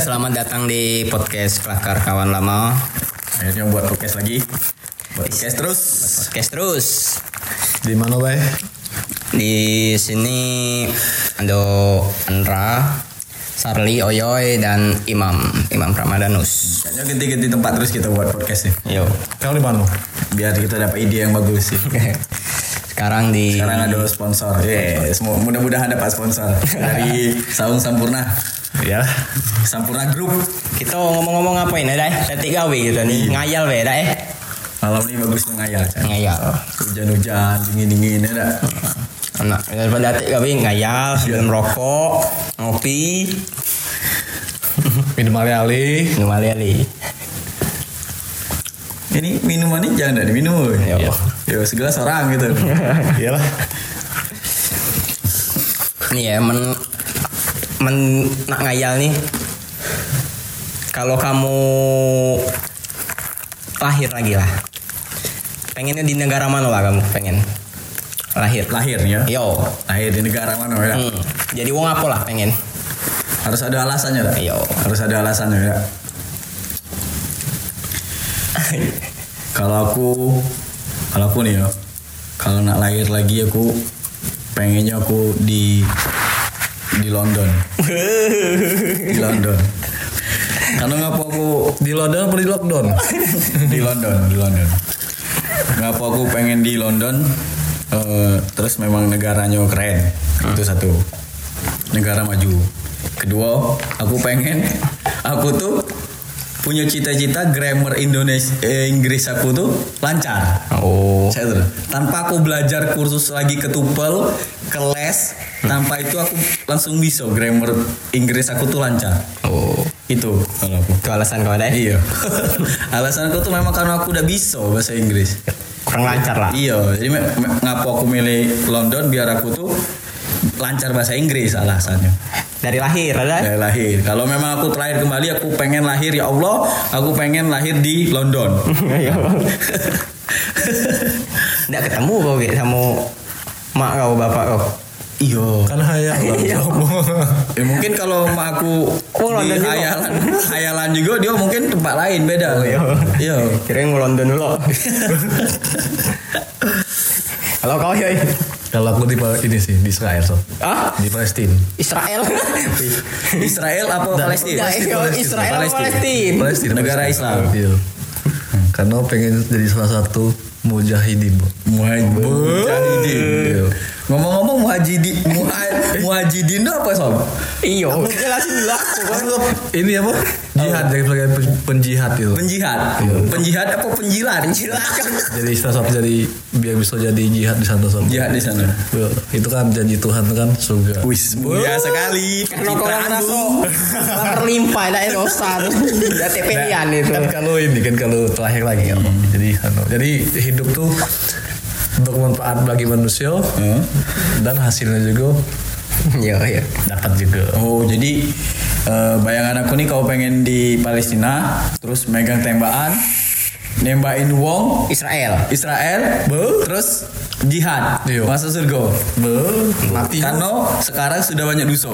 Selamat datang di podcast Kelakar Kawan Lama. Akhirnya buat podcast lagi. Buat podcast terus. Podcast terus. Di mana, Bay? Di sini Ando Andra, Sarli Oyoy dan Imam Imam Ramadanus. Kayaknya ganti-ganti tempat terus kita buat podcast nih. Yo. Kau di mana? Iya. Biar kita dapat ide yang bagus sih. Sekarang di Sekarang ada sponsor. Yes, mu- mudah-mudahan dapat sponsor dari Saung Sampurna. Iya. Ya, Sampurna Group. kita ngomong-ngomong ngapain ya, Day? Tadi gawe gitu Iya. nih. Ngayal we, Day. Malam ini bagus ngayal. Chan. Ngayal. Hujan-hujan, dingin-dingin ya dah. Anak daripada tadi gawe ngayal Iya. sambil merokok, ngopi, minum alih-alih. minum ali-ali. Ini minuman ini jangan dah diminum. Yo. Yo. Yo, segelas orang gitu. Iyalah. Nih ya men men nak ngayal nih. Kalau kamu lahir lagi lah. Pengennya di negara mana lah kamu pengen? Lahir. Lahirnya. Yo. Lahir di negara mana ya? Hmm. Jadi wong apa lah pengen? Harus ada alasannya dah. Yo. harus ada alasannya ya kalau aku kalau aku nih ya kalau nak lahir lagi aku pengennya aku di di London di London karena ngapa aku Di London apa di lockdown? di London di London ngapa aku pengen di London eh, terus memang negaranya keren itu satu negara maju kedua aku pengen aku tuh punya cita-cita grammar Indonesia eh, Inggris aku tuh lancar Oh. saya tuh, tanpa aku belajar kursus lagi ke TOEFL ke les tanpa itu aku langsung bisa grammar Inggris aku tuh lancar Oh. itu kalau aku Itu alasan kau deh. Iya. Alasan aku tuh memang karena aku udah bisa bahasa Inggris. Kurang lancar lah. Iya, jadi me- me- ngapa aku milih London biar aku tuh lancar bahasa Inggris alasannya Dari lahir ada. dari lahir. Kalau memang aku terakhir kembali aku pengen lahir ya Allah, aku pengen lahir di London. Nggak ketemu kau gitu sama mak kau, bapak kau. Iya. Kan hayang Iya. Ya, mungkin kalau emak aku Oh, London di juga. hayalan, hayalan juga dia mungkin tempat lain beda. iya. Iya. Kirain mau London dulu. Halo kau yoi. Kalau aku di ini sih di Israel so. Ah? Di Palestina. Israel. Israel apa Palestina? Nggak, iya, Israel apa Palestina? Palestina. Negara Islam. Iya. Karena pengen jadi salah satu mujahidin. Bo. Muhajidin. Ngomong-ngomong muhajidin, muha- muhajidin itu apa sob? Iyo. Jelasin dulu lah. Ini apa? Jihad jadi sebagai pen- penjihad iya. itu. Penjihad. Penjihad apa penjilat? Penjilat. Jadi salah satu jadi biar bisa jadi jihad di sana so. Jihad di sana. Bo, Itu kan janji Tuhan kan surga. Wis, mulia sekali. Karena kau Citraan ngerasa lu. terlimpah dari dosa. Dari tepelian itu. kan kalau ini kan kalau terakhir lagi kan jadi anu, jadi hidup tuh bermanfaat bagi manusia dan hasilnya juga Iya iya. dapat juga Oh, jadi eh, bayangan aku nih kau pengen di Palestina, terus megang tembakan, nembakin wong, Israel. Israel, terus jihad, Iya. masuk surga. Be, Iya. mati Karena sekarang sudah banyak dosa.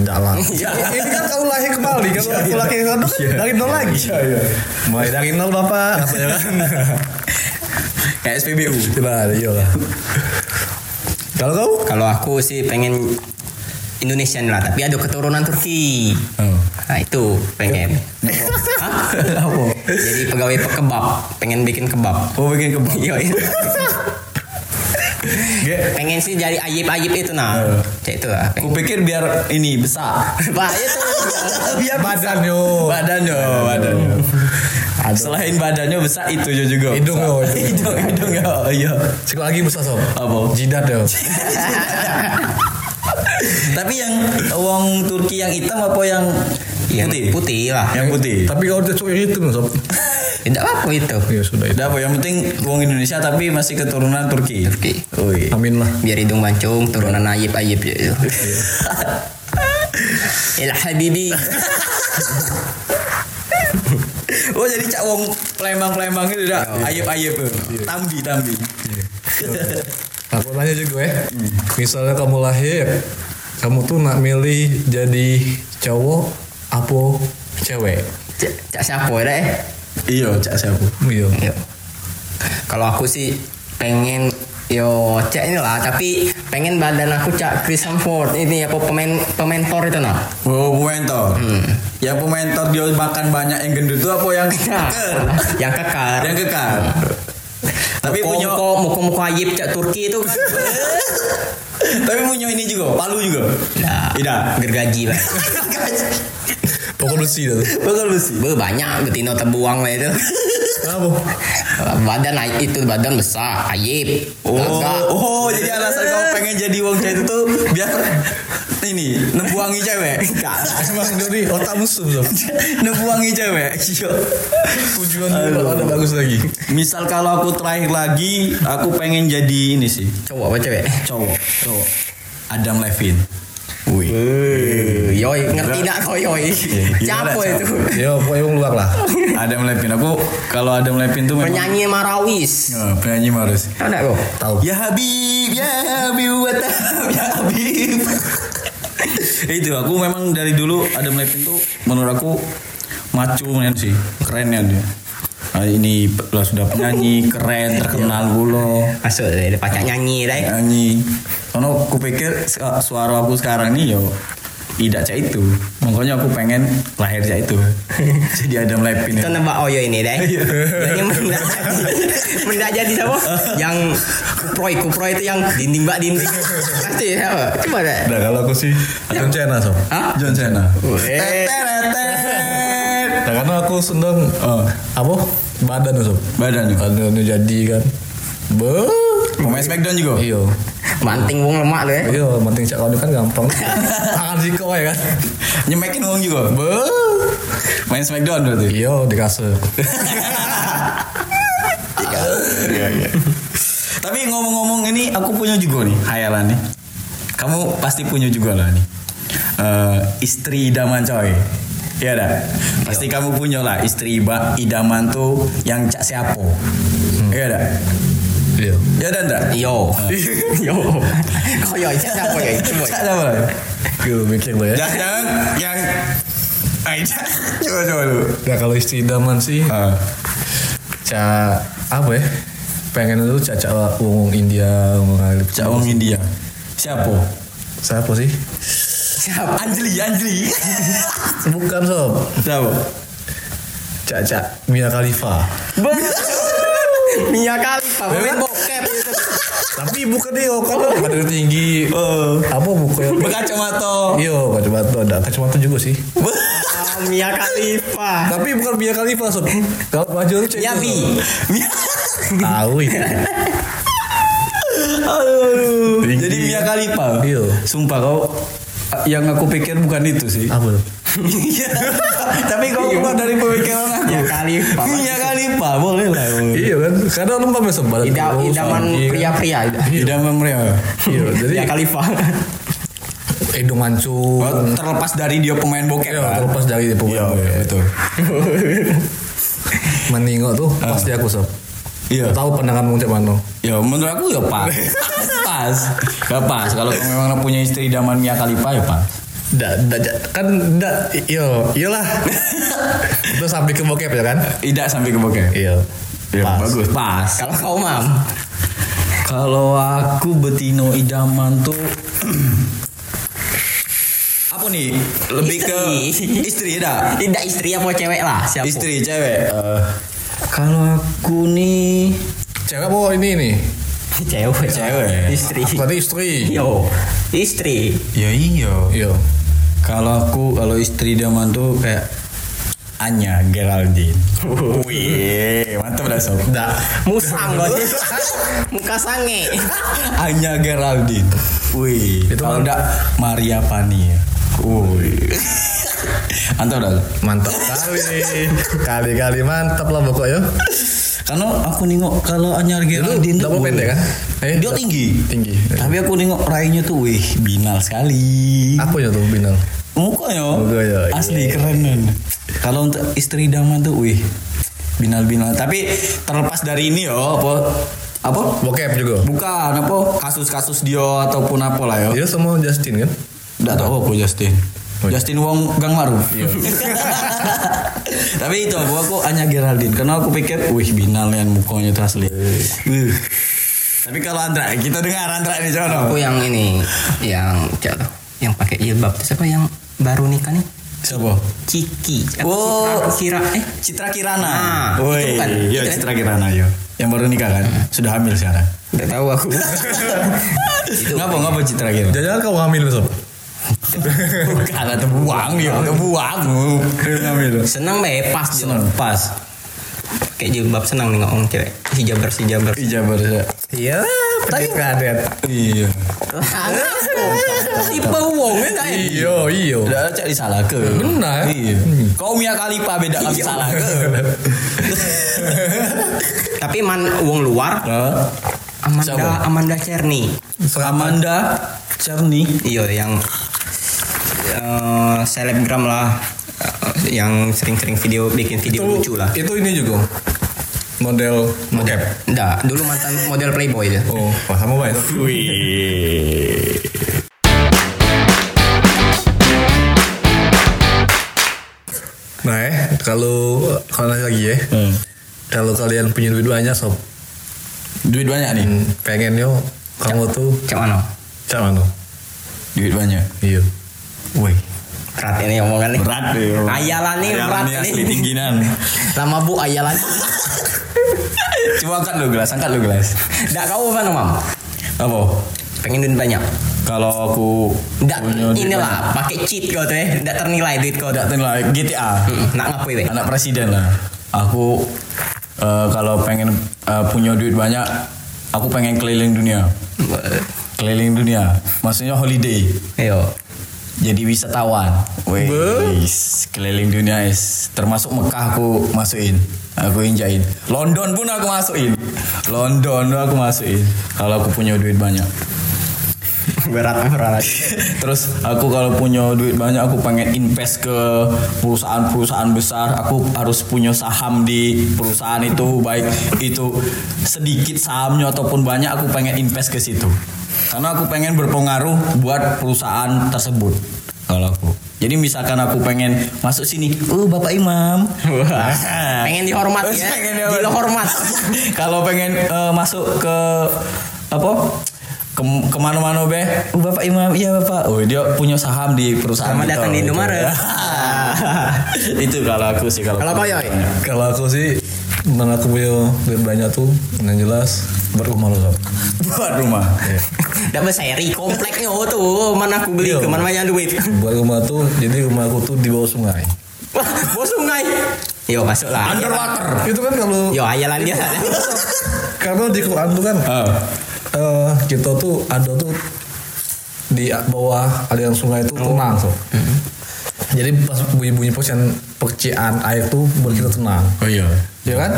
enggak lah Eh, Ini kan kau lahir kembali, kan Iya, aku lahir kembali kan? dari nol lagi mulai dari nol bapak katanya kan Kayak SPBU. Nah, iya lah kalau kau Kalau aku sih pengen Indonesian lah, tapi ada keturunan Turki. Nah itu pengen. Hah? Jadi pegawai pe- kebab, pengen bikin kebab. Oh bikin kebab. Iya. iya. Ge, pengen sih jadi ayib-ayib itu nah. Kayak itu lah. Aku pikir biar ini besar. Wah itu. biar Badan, yo. Badannya, badannya. Selain badannya besar itu yo juga. Hidung, yo, Besar. hidung. hidung, hidung yo, iya. sekali lagi besar sob Apa? Oh. jidat ya. yo Tapi yang wong Turki yang hitam apa yang Yang putih? putih lah. Yang putih. tapi kalau dia gitu, cuy itu sob Tidak apa itu. ya sudah itu Udah apa yang penting wong Indonesia tapi masih keturunan Turki. Turki. Ui. amin lah Biar hidung mancung, turunan ayib-ayib ya itu. El Habibi. Oh jadi cak wong Palembang-Palembang itu udah ayub-ayub. Tambi-tambi. Aku tanya juga ya. Misalnya kamu lahir, kamu tuh nak milih jadi cowok apa cewek Cak, cak siapa ya eh? Iya, cak siapa? iya Yo. Kalau aku sih pengen yo cak inilah tapi pengen badan aku cak Chris Hemsworth ini apa pemain pementor itu nah. Oh, pementor. Yang pementor dia makan banyak yang gendut itu apa yang Nah, keker? yang kekar. yang kekar. tapi punya muka muka muka ayib cak Turki itu kan. tapi punya ini juga, palu juga. Nah, Tidak. gergaji lah. pokoknya sih itu Betul besi. Be, banyak betina terbuang lah itu. kenapa badan ay- itu badan besar, ayib, Oh, gagah. oh, jadi alasan kau pengen jadi wong cewek itu tuh biar ini nembuangi cewek. Enggak. emang dari otak musuh tuh nembuangi cewek. Iya. tujuan lu ada bagus lagi Misal kalau aku terakhir lagi, aku pengen jadi ini sih, Cowok apa cewek? cowok, cowok. Adam Levine. Wih. Eh, Yoi, ngerti dak kau Iya, yoi? Siapa Gimana, itu? yo pokoknya yang luar lah Adam Levine. Aku kalau Adam Levine tuh memang Penyanyi Marawis. Eh, penyanyi harus. Tahu enggak kau? tahu Ya Habib, ya Habib, wa tahab, ya Habib. itu aku memang dari dulu Adam Levine tuh menurut aku macu men sih, keren ya dia. Nah, ini lah sudah penyanyi keren terkenal gulo Masuk deh, Ah, eh, dia pacar nyanyi deh. Ya. nyanyi. Karena aku pikir su- ah, suara aku sekarang nih yo tidak cah itu. Makanya aku pengen lahir cah itu. Jadi Adam Levine. Kan Itu nebak Oyo ini deh. Ya. Ini mendak mendak jadi siapa? yang kuproy kuproy itu yang dinding bak dinding. Pasti siapa? Coba deh. nah kalau aku sih Iya. John Cena sob Hah? John Cena. Eh, nah karena aku seneng eh, Oh, apa badan sob badan juga. badan itu jadi kan be Pemain Smackdown juga. iyo Banting wong lemak lu ya. iyo penting cak kau kan gampang tangan sih kau ya kan Nyemekin uang juga. Be. Main Smackdown berarti. iyo di kasur Tapi ngomong-ngomong ini aku punya juga nih hayalan nih. Kamu pasti punya juga lah nih. Eh, istri idaman coy. Iya dah. Pasti kamu punya lah istri iba, idaman tuh yang cak siapo. Iya dah. iyo Iya dah dah. Yo. Yo. Kau yoi siapa yoi? Coba. Cak siapa? Yo, mikir lo ya Yang yang yang Aja. Coba coba dulu. nah kalau istri idaman sih Ah. cak apa ya pengen itu cak cak wong India wong Alip Cak Wong India. Siapa? siapa sih Siapa? Anjli, Anjli. bukan sob Siapa? cak cak Mia Khalifa Mia kali pemain bokep itu. tapi bukan dia kan badan tinggi Oh. apa bukan Berkacamata. Iyo, kacamata ada kacamata juga sih. Ah, Mia Khalifa. Tapi bukan Mia Khalifa sob. Kalau baju lu cek. Ya Bi. Tahu ya. itu. Aduh. Tinggi. Jadi Mia Khalifa. Iya. Sumpah kau yang aku pikir bukan itu sih. Apa tuh? Iya. Tapi kau keluar dari pemikiran aku. Mia Khalifa. Iya. Mia Khalifa boleh lah. boleh. Iya kan? Kadang lupa mesem badan. Oh, Ida- kurus, Idaman tinggi, kan. pria-pria. Tidak memeriah. Iya, jadi Mia Khalifa. hidung mancung. Oh, terlepas dari dia pemain bokep. Iya, kan? terlepas dari dia Iya, pemain. betul. Meningok tuh pasti aku sob. Iya. Tahu pandanganmu cek mana? Ya menurut aku ya pas. pas. Ya pas. Kalau kau memang punya istri idaman Mia Khalifa ya pas. Da, da, ja- kan da, yo, iyalah. Terus sampai ke bokep ya kan? Tidak sampai ke bokep. Iya. Ya, Pas. bagus. Pas. Kalau kau mam. Kalau aku Betino idaman tuh apa nih? Lebih Istri. Iya, ke istri ya, dah. Tidak istri apa cewek lah siapa? Istri cewek. Eh, kalau aku nih Cewek mau ini nih. Cewek. Cewek. Istri. Berarti istri. Yo. Istri. ya iya. Iya. Kalau aku kalau istri idaman tuh kayak Anya Geraldine. Wih, mantap dah sob. Da. Musang kau. Muka sange. Anya Geraldine. Wih, Itu kalau kan- enggak Maria Pani. Wih. mantap dah. Sob. Mantap kali. Kali-kali mantap lah ya. pokoknya. Karena aku nengok kalau Anyar Lu Geraldine tuh, double wih. pendek kan? Eh, Dia tinggi. tinggi. Tapi aku nengok rainya tuh wih binal sekali. Apa ya tuh Binal? Mukanya Mukanya, asli iya. keren. men. Kalau untuk istri idaman tuh wih binal-binal. Tapi terlepas dari ini yo apa apa Bokep juga. bukan apa kasus-kasus dia ataupun apa lah yo. Dia Iya, semua Justin kan? Enggak tahu apa Justin. Justin Wong Gang Maruf. Tapi itu aku aku hanya Geraldine karena aku pikir wih binal yang mukanya itu asli. Wih. Tapi kalau Andra kita dengar Andra nih Aku Jono. yang ini yang cak tuh, yang pakai jilbab itu siapa yang baru nikah nih? Siapa? Ciki. Wow. Wow. Kira eh Citra Kirana. Ah, Woi, itu kan. iya Itu kan. Citra Kirana yo. Yang baru nikah kan? Sudah hamil sekarang. nggak tahu aku. itu Ngapa ngapa Citra Kirana? Jangan kau hamil sob. Bukan ada buang yo, ada buang. Hamil. senang deh pas senang. Senang pas. Kayak jilbab senang nih ngomong cewek. Si jabar si jabar. Ijabar saya. Iya, tapi kadet. Iya. Tipe wong enggak ya? Iyo, iyo. Udah cari salah ke. Benar. Iya. Kau Mia Khalifa beda kali salah ke. Tapi man wong luar Amanda Siapa? Amanda Cerny. Amanda Cerny. Iya yang eh, selebgram lah Eh, yang sering-sering video bikin video lucu lah. Itu ini juga model mocap. Enggak, dulu mantan model Playboy dia. Oh, wah sama baik. Nah, eh, kalau kalau nanya lagi ya, Hmm. kalau kalian punya duit banyak sob, Duit banyak nih. pengen yo kamu tuh Cak mana? cak mana? Duit banyak. Iya. Woi. Berat ini omongan nih. Berat deh. Ayalan nih, berat nih. asli tingginan. Lama bu ayalan. Coba angkat lu gelas, angkat lu gelas. Enggak kau mana mam? Apa? Pengen duit banyak. Kalau aku Enggak punya duit banyak. inilah pakai cheat kau tuh ya. Enggak ternilai duit kau Nggak tuh. tenang lah, GTA. Mm, Nak ngapain deh? Anak presiden lah. Aku eh, kalau pengen eh, punya duit banyak, aku pengen keliling dunia. Keliling dunia. Maksudnya holiday. Ayo. Jadi wisatawan. Wes, keliling dunia es. Termasuk Mekah aku masukin. Aku injain. London pun aku masukin. London pun aku masukin. Kalau aku punya duit banyak. Berat berat. Terus aku kalau punya duit banyak aku pengen invest ke perusahaan-perusahaan besar. Aku harus punya saham di perusahaan itu baik itu sedikit sahamnya ataupun banyak aku pengen invest ke situ. Karena aku pengen berpengaruh buat perusahaan tersebut. Kalau aku. Jadi misalkan aku pengen masuk sini, uh Bapak Imam. Pengen dihormati ya. Pengen dihormati. Gila hormat. kalau pengen eh, masuk ke apa ke kemana-mana be "Oh, bapak imam iya bapak oh dia punya saham di perusahaan Selamat kita, datang di gitu. Indomaret. itu kalau aku sih kalau Kalau kau ya. Kalau aku sih, mana aku punya duit banyak tuh, yang jelas berumah lo sob. buat rumah Enggak beseri kompleknya oh tuh. Mana aku beli Iya. ke mana banyak duit. Buat rumah tuh, jadi rumah aku tuh di bawah sungai. Wah, bos sungai. Yo masuk lah. underwater Itu kan kalau Yo ayalan dia. karena di Quran tuh kan Ah, eh, kita tuh ada tuh di bawah aliran sungai itu tenang sob. Mm-hmm. Jadi pas bunyi-bunyi percikan percikan air tuh buat kita tenang, oh iya ya kan?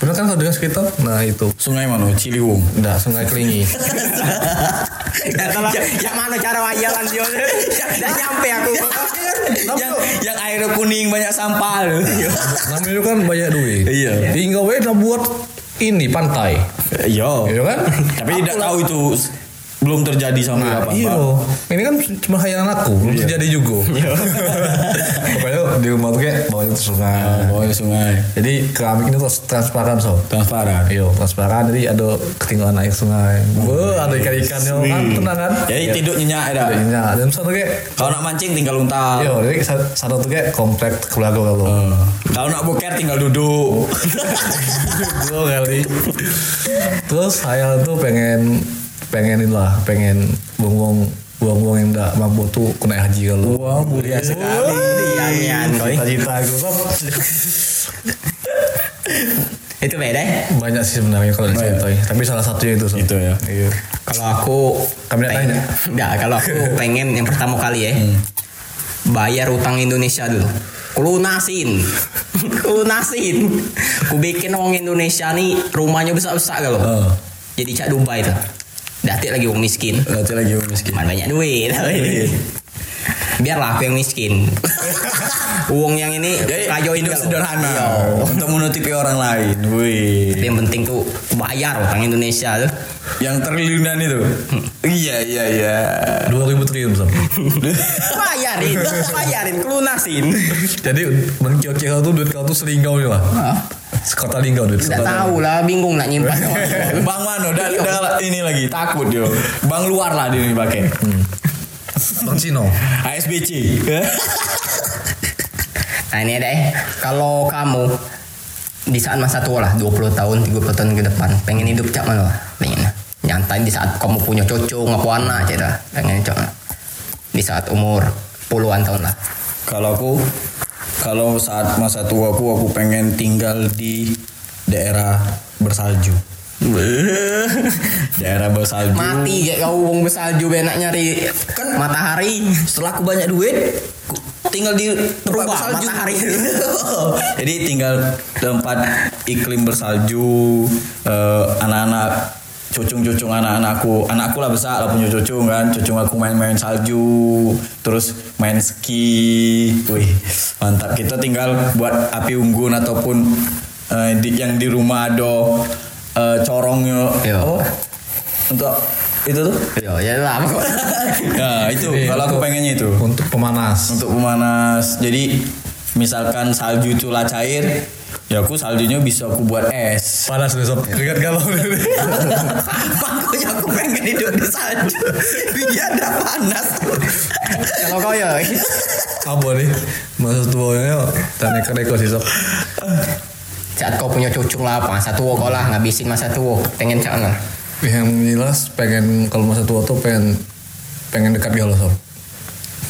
Bener kan kalau dengar sekitar? Nah itu, sungai mana Ciliwung udah sungai kelingi. Ya, ya mana cara ayalan dia? Enggak nyampe aku. yang yang air kuning banyak sampah Iya. loh Namanya itu kan banyak duit. Iya. Hingga we udah buat ini pantai. yo Iya kan? tapi tidak tahu itu belum terjadi sampai apa Iya. Ini kan cuma khayalan aku, belum terjadi juga. Pokoknya di rumah tuh kayak bawahnya tuh sungai. oh sungai Jadi keramik ini terus transparan sob. transparan Iya, transparan. Jadi ada ketinggalan air sungai. Wah, ada ikan-ikannya kan, tenang kan? jadi tidur nyenyak dah Iya. Dan satu kayak Kalau nak mancing tinggal untal. Iya, jadi sa- satu tuh kayak komplek keluarga kalau. Eh, Kalau nak boker tinggal duduk. Dua kali. Terus saya tuh pengen pengenin lah, pengen buang-buang buang-buang yang enggak mampu tuh kena haji kalau. Wah, mulia sekali. Iya, iya, coy. Cita-cita kan aku Sob. Itu beda. ya? banyak sih sebenarnya kalau diceritain, tapi salah satunya itu. Sob. Itu ya. Iya. Kalau aku Kabinet pengen- lain ya? Nggak, kalau aku pengen yang pertama kali ya. Bayar utang Indonesia dulu. Kulunasin. Kulunasin. Ku bikin orang Indonesia nih rumahnya besar-besar kalau. Oh. Jadi cak Dubai tuh. Dati lagi orang miskin. Berarti lagi orang miskin. Cuman banyak duit. biarlah aku yang miskin uang yang ini hidup kayo ini kalau- sederhana Iya. untuk menutupi orang lain. Wih. Tapi yang penting tuh bayar utang Indonesia tuh Yang terliunan itu. Hmm. Iya iya iya. dua ribu triliun Sam. bayarin bayarin kelunasin jadi menkira-kira tuh duit kau tuh selinggau nih lah sekota linggau duit tidak sekota tahu lah bingung nak nyimpan Bang Mano udah Iya. udah ini lagi takut dia. Bang luar lah dia ini pakai. Hmm. Bang Cino ASBC. Iya. nah ini deh kalau kamu di saat masa tua lah 20 tahun 30 tahun ke depan pengen hidup cak mana lah? pengen nyantai di saat kamu punya cucu ngaku anak cak dah. pengen cak di saat umur puluhan tahun lah kalau aku kalau saat masa tua aku aku pengen tinggal di daerah bersalju. daerah bersalju. mati kayak kau wong besalju benak nyari Kan- matahari Setelah aku banyak duit, ku tinggal di tempat Berubah bersalju. matahari. Jadi tinggal tempat iklim bersalju, eh, anak-anak cucung-cucung anak-anakku, anakku lah besar lah punya cucung kan, cucung aku main-main salju, terus main ski, wih mantap. Kita tinggal buat api unggun ataupun eh, di, yang di rumah ada eh, corongnya, Iya. apa? Untuk itu tuh? yo ya lah Ya itu kalau aku pengennya itu Iya, untuk pemanas untuk pemanas jadi misalkan salju itu lah cair ya aku saljunya bisa aku buat es panas nih sob Iya. keringat galau makanya aku pengen hidup di salju biar ada panas kalau kau ya apa nih masa tuanya dan neko-neko sih sob saat kau punya cucu lah apa masa tua kau lah ngabisin masa tua pengen cak nah. mana yang jelas pengen kalau masa tua tuh pengen pengen dekat ya Allah sob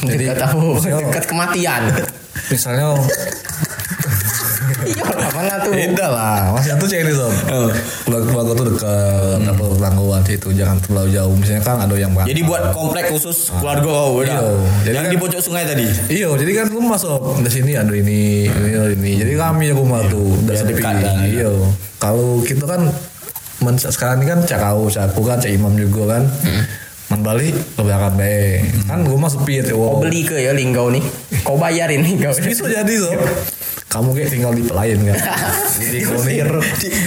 Jadi- dekat tahu Yo. dekat kematian misalnya iya lah, mana tuh beda lah masih satu cek ini sob Oh. keluarga keluarga tuh dekat apa pertanggungan itu jangan terlalu jauh misalnya kan ada yang berangkat. Hmm. jadi buat komplek khusus keluarga kau udah Iya. Jadi yang kan- di pojok sungai tadi Iya, jadi kan rumah sob di sini ada ini, ini, ada ini. Jadi kami rumah tuh udah Hmm. biar sepi. dekat ya. dan- Iya. Kalau kita kan men, sekarang ini kan cak kau, cak aku kan cak imam juga kan. Hmm. Men balik ke belakang bae. Kan rumah sepi ya cak. kau Oh, Wow. beli ke ya linggau nih kau bayarin linggau Bisa Gitu jadi sob. Kamu kayak tinggal di pelayan kan. Jadi kau nih.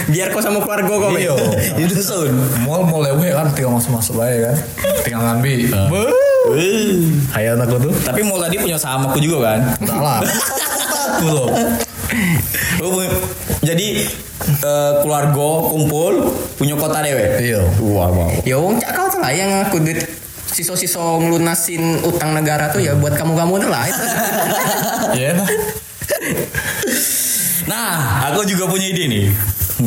biar kau sama keluarga kau Iya. ya itu sun Mall mall lewe kan tinggal masuk masuk bae kan. Tinggal ngambil. Beuh. Hayal aku tuh. tapi mau tadi punya sama aku juga kan Salah. Aku sob. Lu punya- jadi eh, keluarga kumpul punya kota dewe Iya. wah wow ya wong cak kau tuh lah yang aku duit siso-siso ngelunasin utang negara tuh ya buat kamu-kamu tuh lah itu Ya enak. Nah, aku juga punya ide nih.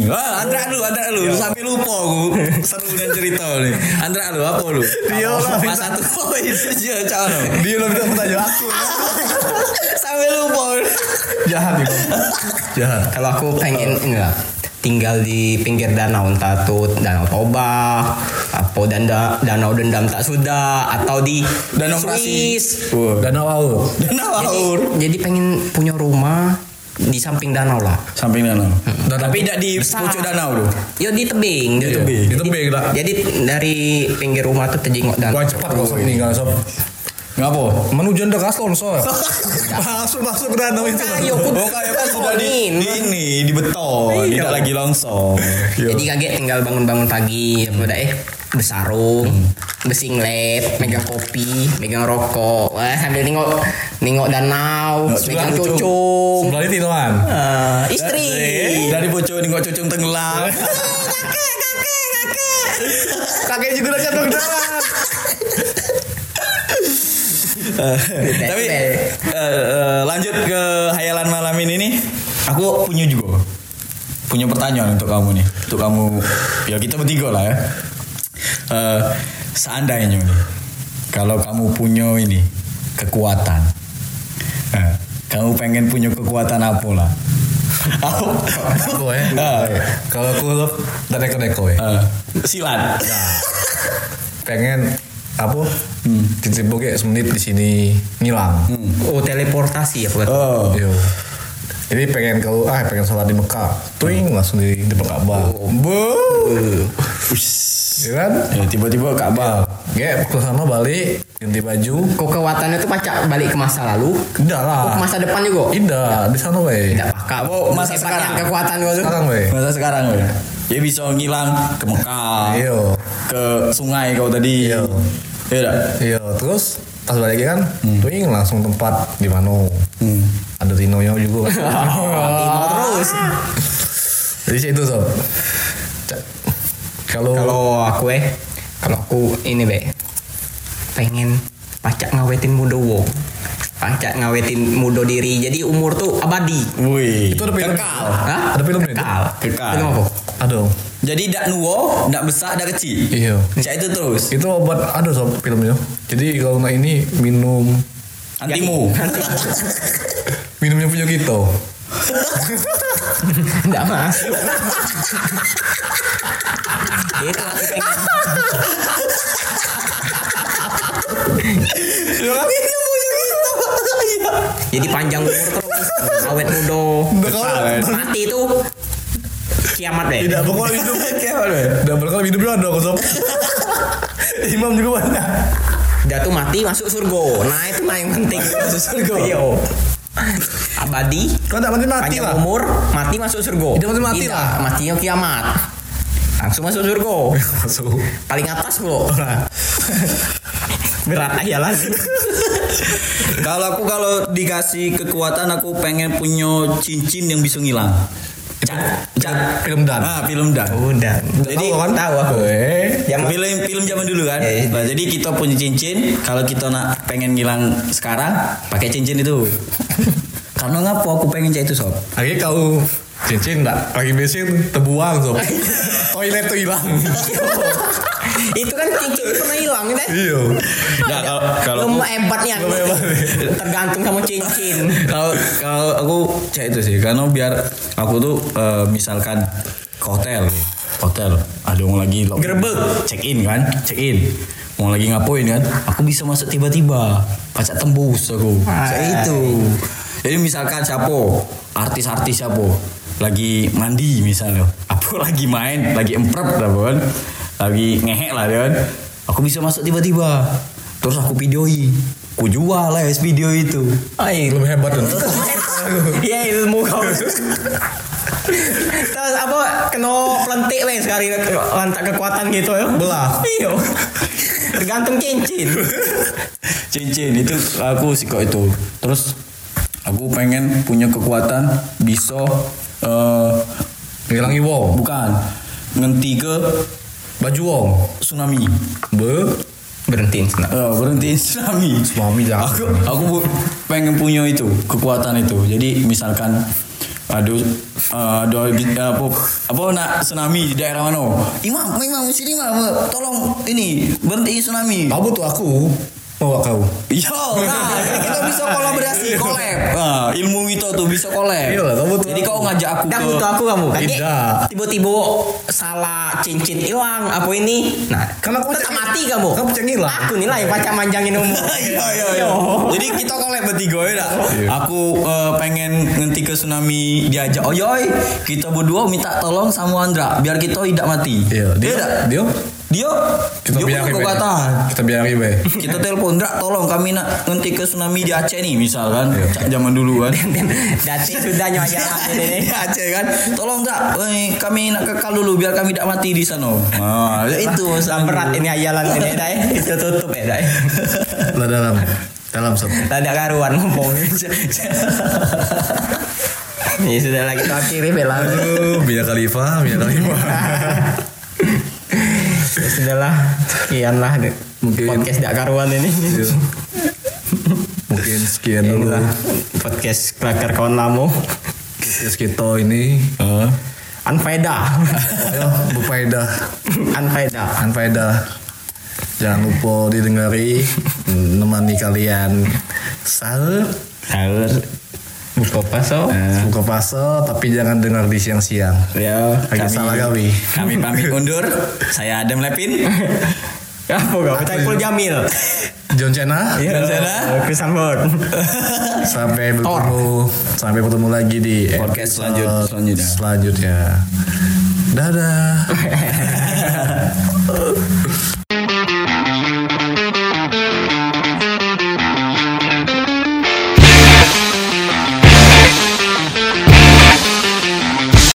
Wah, Andra lu, Andra lu, sampai lupa aku seru dan cerita nih. Andra lu, apa lu? Dia lah. Pas satu itu aja calon. Dia lo minta pertanyaan aku. lah?" Sampai lupa. jahat nih Bang. Ya. jahat kalau aku pengen enggak tinggal di pinggir danau entah itu danau Toba atau danda, danau dendam tak sudah atau di Danau Prasi. Swiss danau laut Danau Aur. jadi, jadi pengen punya rumah di samping danau lah Samping danau. Danau Iya. Tapi tidak di besar. pucuk danau lu. ya di tebing di tebing. itu big lah jadi dari pinggir rumah tuh terjengok danau Wah cepat kok sob nih sob Ngapa? Menuju anda kaslon sob Masuk masuk ke danau itu Ayo, aku- Oh, kayak kan sudah di, Betonin. di ini, di beton, tidak lagi longsor. jadi kaget tinggal bangun-bangun pagi ya udah eh besarung besinglet megang kopi megang rokok Wah, sambil nengok nengok danau Nengok megang cucung. cucung Sebelah itu kan Eh, istri Dari pucuk ini kok cucung tenggelam. kakek juga udah jatuh dalam Tapi eh, eh, lanjut ke hayalan malam ini nih. Aku punya juga punya pertanyaan untuk kamu nih. Untuk kamu ya kita bertiga lah ya. Eh, seandainya nih kalau kamu punya ini kekuatan. Eh, kamu pengen punya kekuatan apa lah? Gue Ah. ya. eh. Kalau aku sob Dan neko-neko ya Eh, silat. Pengen Apa Hmm. Ditipu kayak semenit di sini Ngilang oh teleportasi ya buat Oh. Yo. Iya. Jadi pengen kalau ah pengen sholat di Mekah, tuing langsung di depan Ka'bah. Bu. Ya kan? Ya, Eh, tiba-tiba Ka'bah. pakai ke sana balik ganti baju Kekuatannya tuh pacak balik ke masa lalu, udah lah ke masa depan juga. indah di sana weh Tidak pakak, Oh, masa Hebat sekarang. yang kekuatan gua tuh. sekarang weh Masa sekarang weh. Dia bisa ngilang ke Mekah, iyo ke sungai kau tadi. Iya. Iya. iyo terus pas balik kan tuing langsung tempat di mana Hmm. ada Tino nya juga Oh, Tino terus. jadi situ sob C- kalau Kalau aku eh, kalau aku ini be, pengen pacak ngawetin muda wo. Pacak ngawetin muda diri. Jadi umur tuh abadi. Wih. itu ada film Kekal. Hah? ada film itu Kekal. Kekal. Film apa? ada Iya. Jadi dak nuwo, dak besar, dak Iya. kecil. iyo Cak itu terus. itu obat ada sob filmnya jadi kalau nak ini minum Antimu. minumnya punya kita Ah. Enggak masuk. Itu aku pengen. Iya. Jadi panjang umur terus, awet muda. Mati itu kiamat deh. tidak bakal hidup eh? tidak bakal hidupnya ada kok sob imam juga banyak Dia tuh mati masuk surga. Nah, itu mah yang penting masuk surga. Iya. Abadi, kalau tidak mati mati panjang lah umur, mati masuk surga. Hidup mati mati Tidak, lah. Matinya kiamat. Langsung masuk surga. masuk paling atas bro berat aja ya, lazim Kalau aku kalau dikasih kekuatan aku pengen punya cincin yang bisa ngilang. Cak, cak. film dan Ah, film dah. udah Jadi- jadi kan tahu aku eh yang film film zaman dulu kan. Iya, iya. Nah, jadi kita punya cincin, kalau kita nak pengen ngilang sekarang, pakai cincin itu. Karena ngapa aku pengen cak itu sob? lagi kau cincin enggak lagi bensin terbuang sob toilet tuh hilang itu kan cincin pernah hilang kan iyo Nah, kalau kalau Lu hebatnya hebat. tergantung sama cincin kalau kalau aku cek itu sih karena biar aku tuh eh, misalkan ke hotel hotel ada orang lagi lo- Gerebek. check in kan check in mau lagi ngapain kan aku bisa masuk tiba-tiba pacak tembus aku Hai. Kayak itu jadi misalkan siapa artis-artis siapa lagi mandi misalnya aku lagi main lagi emprep lah kan lagi ngehek lah dia kan aku bisa masuk tiba-tiba terus aku videoi aku jual lah es video itu Ay, belum hebat tuh ya ilmu kau terus apa kena pelentik weh sekali lantak kekuatan gitu ya Belah. iyo tergantung cincin cincin itu aku sih kok itu terus aku pengen punya kekuatan bisa eh, hilang iwo bukan ngenti ke baju wong tsunami be berhenti Eh, berhentiin tsunami Tsunami jangan. aku aku bu- pengen punya itu kekuatan itu jadi misalkan aduh eh, ada apa apa nak tsunami di daerah mana imam imam sini imam tolong ini berhentiin tsunami kamu tuh aku bawa kau Yo, nah, kita bisa kolaborasi, collab. Nah, ilmu kita tuh bisa collab. Iya lah, kamu tuh- Jadi kau ngajak aku Dah ke butuh aku kamu kan? Tidak. Eh, Tiba-tiba salah cincin hilang apa ini? Nah, Kan aku tetap pacak- mati kamu. Kan pacak hilang. Aku nih lah yang pacak manjangin umur. Iya, iya, iya. Jadi kita collab bertiga ya dah. Iya. Aku eh, pengen ngenti ke tsunami diajak. Oh yoi, kita berdua minta tolong sama Andra biar kita tidak mati. iyo Iya dah. dia dia Dia, kita dia punya biarin be kekuatan. kita biarin be Kita telepon Andra, tolong kami nak ngenti ke tsunami di Aceh nih misalkan. Iya. Cak, Zaman dulu kan. Dati sudah nyonya ini. Iya Aceh kan. Tolong enggak, eh, kami nak kekal dulu biar kami tidak mati di sana. Nah, itu Lah, masalah berat ini ayalan ini dai. Itu tutup ya dai. lah dalam dalam sob Tidak karuan ngomong. Ya sudah lagi kita akhiri bela. Aduh, Mia Khalifa, Mia Khalifa. Ya sudahlah. Sekianlah Mungkin- podcast tidak karuan ini. Iya. Mungkin sekian Ya, dulu inilah podcast kelakar kawan lamu. podcast kita ini. Anfaedah. Ayo, berfaedah, Anfaedah. anfaedah. Jangan lupa didengari, nemani kalian sahur, Sahur. Buka paso. buka puasa, tapi jangan dengar di siang-siang. Ya, Agak salah gawi. Kami pamit undur. Saya Adam Lepin. Apa kau? Cakul Jamil. John Cena, Dan sana Aku sambut. sampai bertemu, sampai bertemu lagi di Podcast selanjut- episode selanjutnya. Selanjutnya. Dadah.